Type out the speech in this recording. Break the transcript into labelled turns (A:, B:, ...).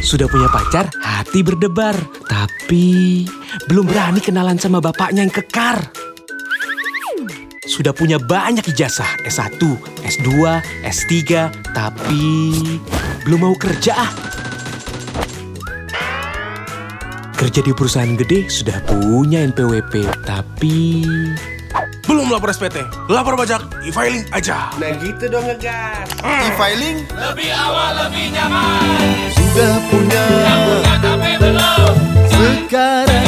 A: Sudah punya pacar, hati berdebar. Tapi belum berani kenalan sama bapaknya yang kekar. Sudah punya banyak ijazah, S1, S2, S3, tapi belum mau kerja ah. Kerja di perusahaan gede sudah punya NPWP, tapi
B: Belum lapor SPT, lapor pajak, e-filing aja.
C: Nah gitu dong ngegas.
D: E-filing
E: Sudah punya, tapi belum.
D: sekarang